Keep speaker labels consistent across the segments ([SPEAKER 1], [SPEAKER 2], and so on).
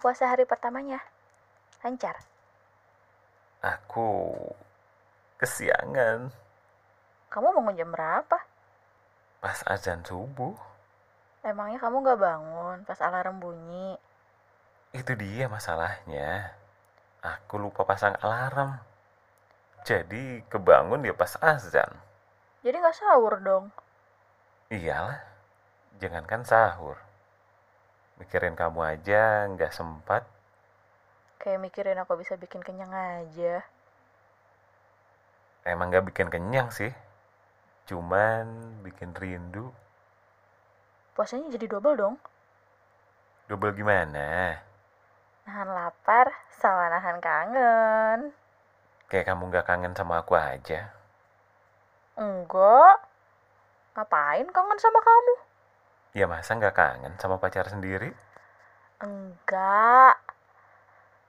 [SPEAKER 1] puasa hari pertamanya? Lancar.
[SPEAKER 2] Aku kesiangan
[SPEAKER 1] Kamu bangun jam berapa?
[SPEAKER 2] pas azan subuh.
[SPEAKER 1] Emangnya kamu gak bangun pas alarm bunyi?
[SPEAKER 2] Itu dia masalahnya. Aku lupa pasang alarm. Jadi kebangun dia pas azan.
[SPEAKER 1] Jadi gak sahur dong.
[SPEAKER 2] Iyalah, jangankan sahur. Mikirin kamu aja nggak sempat.
[SPEAKER 1] Kayak mikirin aku bisa bikin kenyang aja.
[SPEAKER 2] Emang nggak bikin kenyang sih. Cuman bikin rindu.
[SPEAKER 1] Puasanya jadi double dong.
[SPEAKER 2] Double gimana?
[SPEAKER 1] Nahan lapar sama nahan kangen.
[SPEAKER 2] Kayak kamu nggak kangen sama aku aja.
[SPEAKER 1] Enggak. Ngapain kangen sama kamu?
[SPEAKER 2] Ya masa nggak kangen sama pacar sendiri?
[SPEAKER 1] Enggak.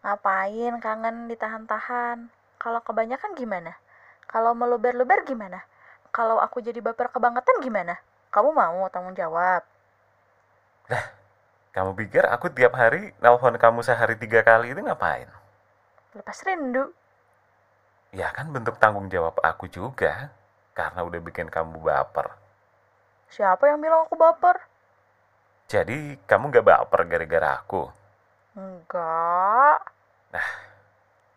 [SPEAKER 1] Ngapain kangen ditahan-tahan? Kalau kebanyakan gimana? Kalau meluber-luber gimana? Kalau aku jadi baper kebangetan gimana? Kamu mau tanggung jawab?
[SPEAKER 2] Kamu pikir aku tiap hari nelpon kamu sehari tiga kali itu ngapain?
[SPEAKER 1] Lepas rindu.
[SPEAKER 2] Ya kan bentuk tanggung jawab aku juga. Karena udah bikin kamu baper.
[SPEAKER 1] Siapa yang bilang aku baper?
[SPEAKER 2] Jadi kamu nggak baper gara-gara aku.
[SPEAKER 1] Enggak.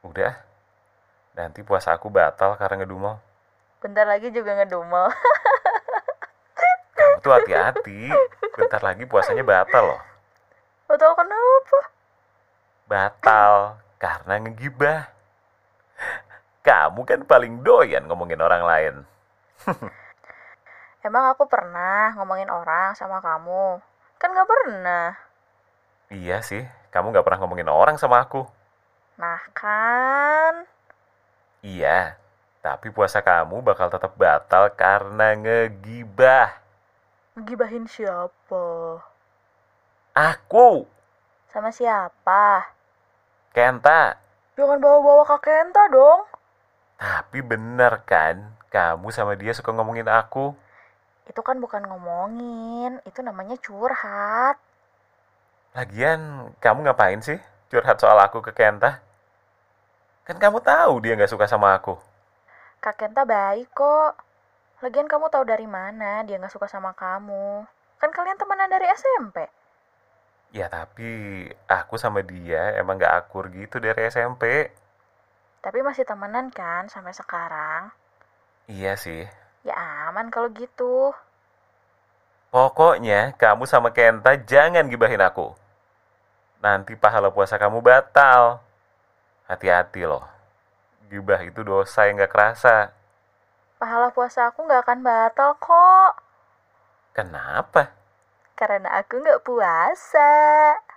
[SPEAKER 2] Udah. Nanti puasa aku batal karena ngedumel.
[SPEAKER 1] Bentar lagi juga ngedumel.
[SPEAKER 2] Kamu tuh hati-hati. Bentar lagi puasanya batal loh.
[SPEAKER 1] Lo tau kenapa?
[SPEAKER 2] Batal karena ngegibah. Kamu kan paling doyan ngomongin orang lain.
[SPEAKER 1] Emang aku pernah ngomongin orang sama kamu? Kan gak pernah.
[SPEAKER 2] Iya sih, kamu nggak pernah ngomongin orang sama aku.
[SPEAKER 1] Nah kan.
[SPEAKER 2] Iya, tapi puasa kamu bakal tetap batal karena ngegibah.
[SPEAKER 1] Ngegibahin siapa?
[SPEAKER 2] Aku,
[SPEAKER 1] Sama siapa?
[SPEAKER 2] Kenta.
[SPEAKER 1] Jangan bawa-bawa Kak Kenta dong.
[SPEAKER 2] Tapi bener kan, kamu sama dia suka ngomongin aku.
[SPEAKER 1] Itu kan bukan ngomongin, itu namanya curhat.
[SPEAKER 2] Lagian, kamu ngapain sih curhat soal aku ke Kenta? Kan kamu tahu dia nggak suka sama aku.
[SPEAKER 1] Kak Kenta baik kok. Lagian kamu tahu dari mana dia nggak suka sama kamu? Kan kalian temenan dari SMP.
[SPEAKER 2] Ya tapi aku sama dia emang nggak akur gitu dari SMP.
[SPEAKER 1] Tapi masih temenan kan sampai sekarang?
[SPEAKER 2] Iya sih.
[SPEAKER 1] Ya aman kalau gitu.
[SPEAKER 2] Pokoknya kamu sama Kenta jangan gibahin aku. Nanti pahala puasa kamu batal. Hati-hati loh. Gibah itu dosa yang nggak kerasa.
[SPEAKER 1] Pahala puasa aku nggak akan batal kok.
[SPEAKER 2] Kenapa?
[SPEAKER 1] Karena aku nggak puasa.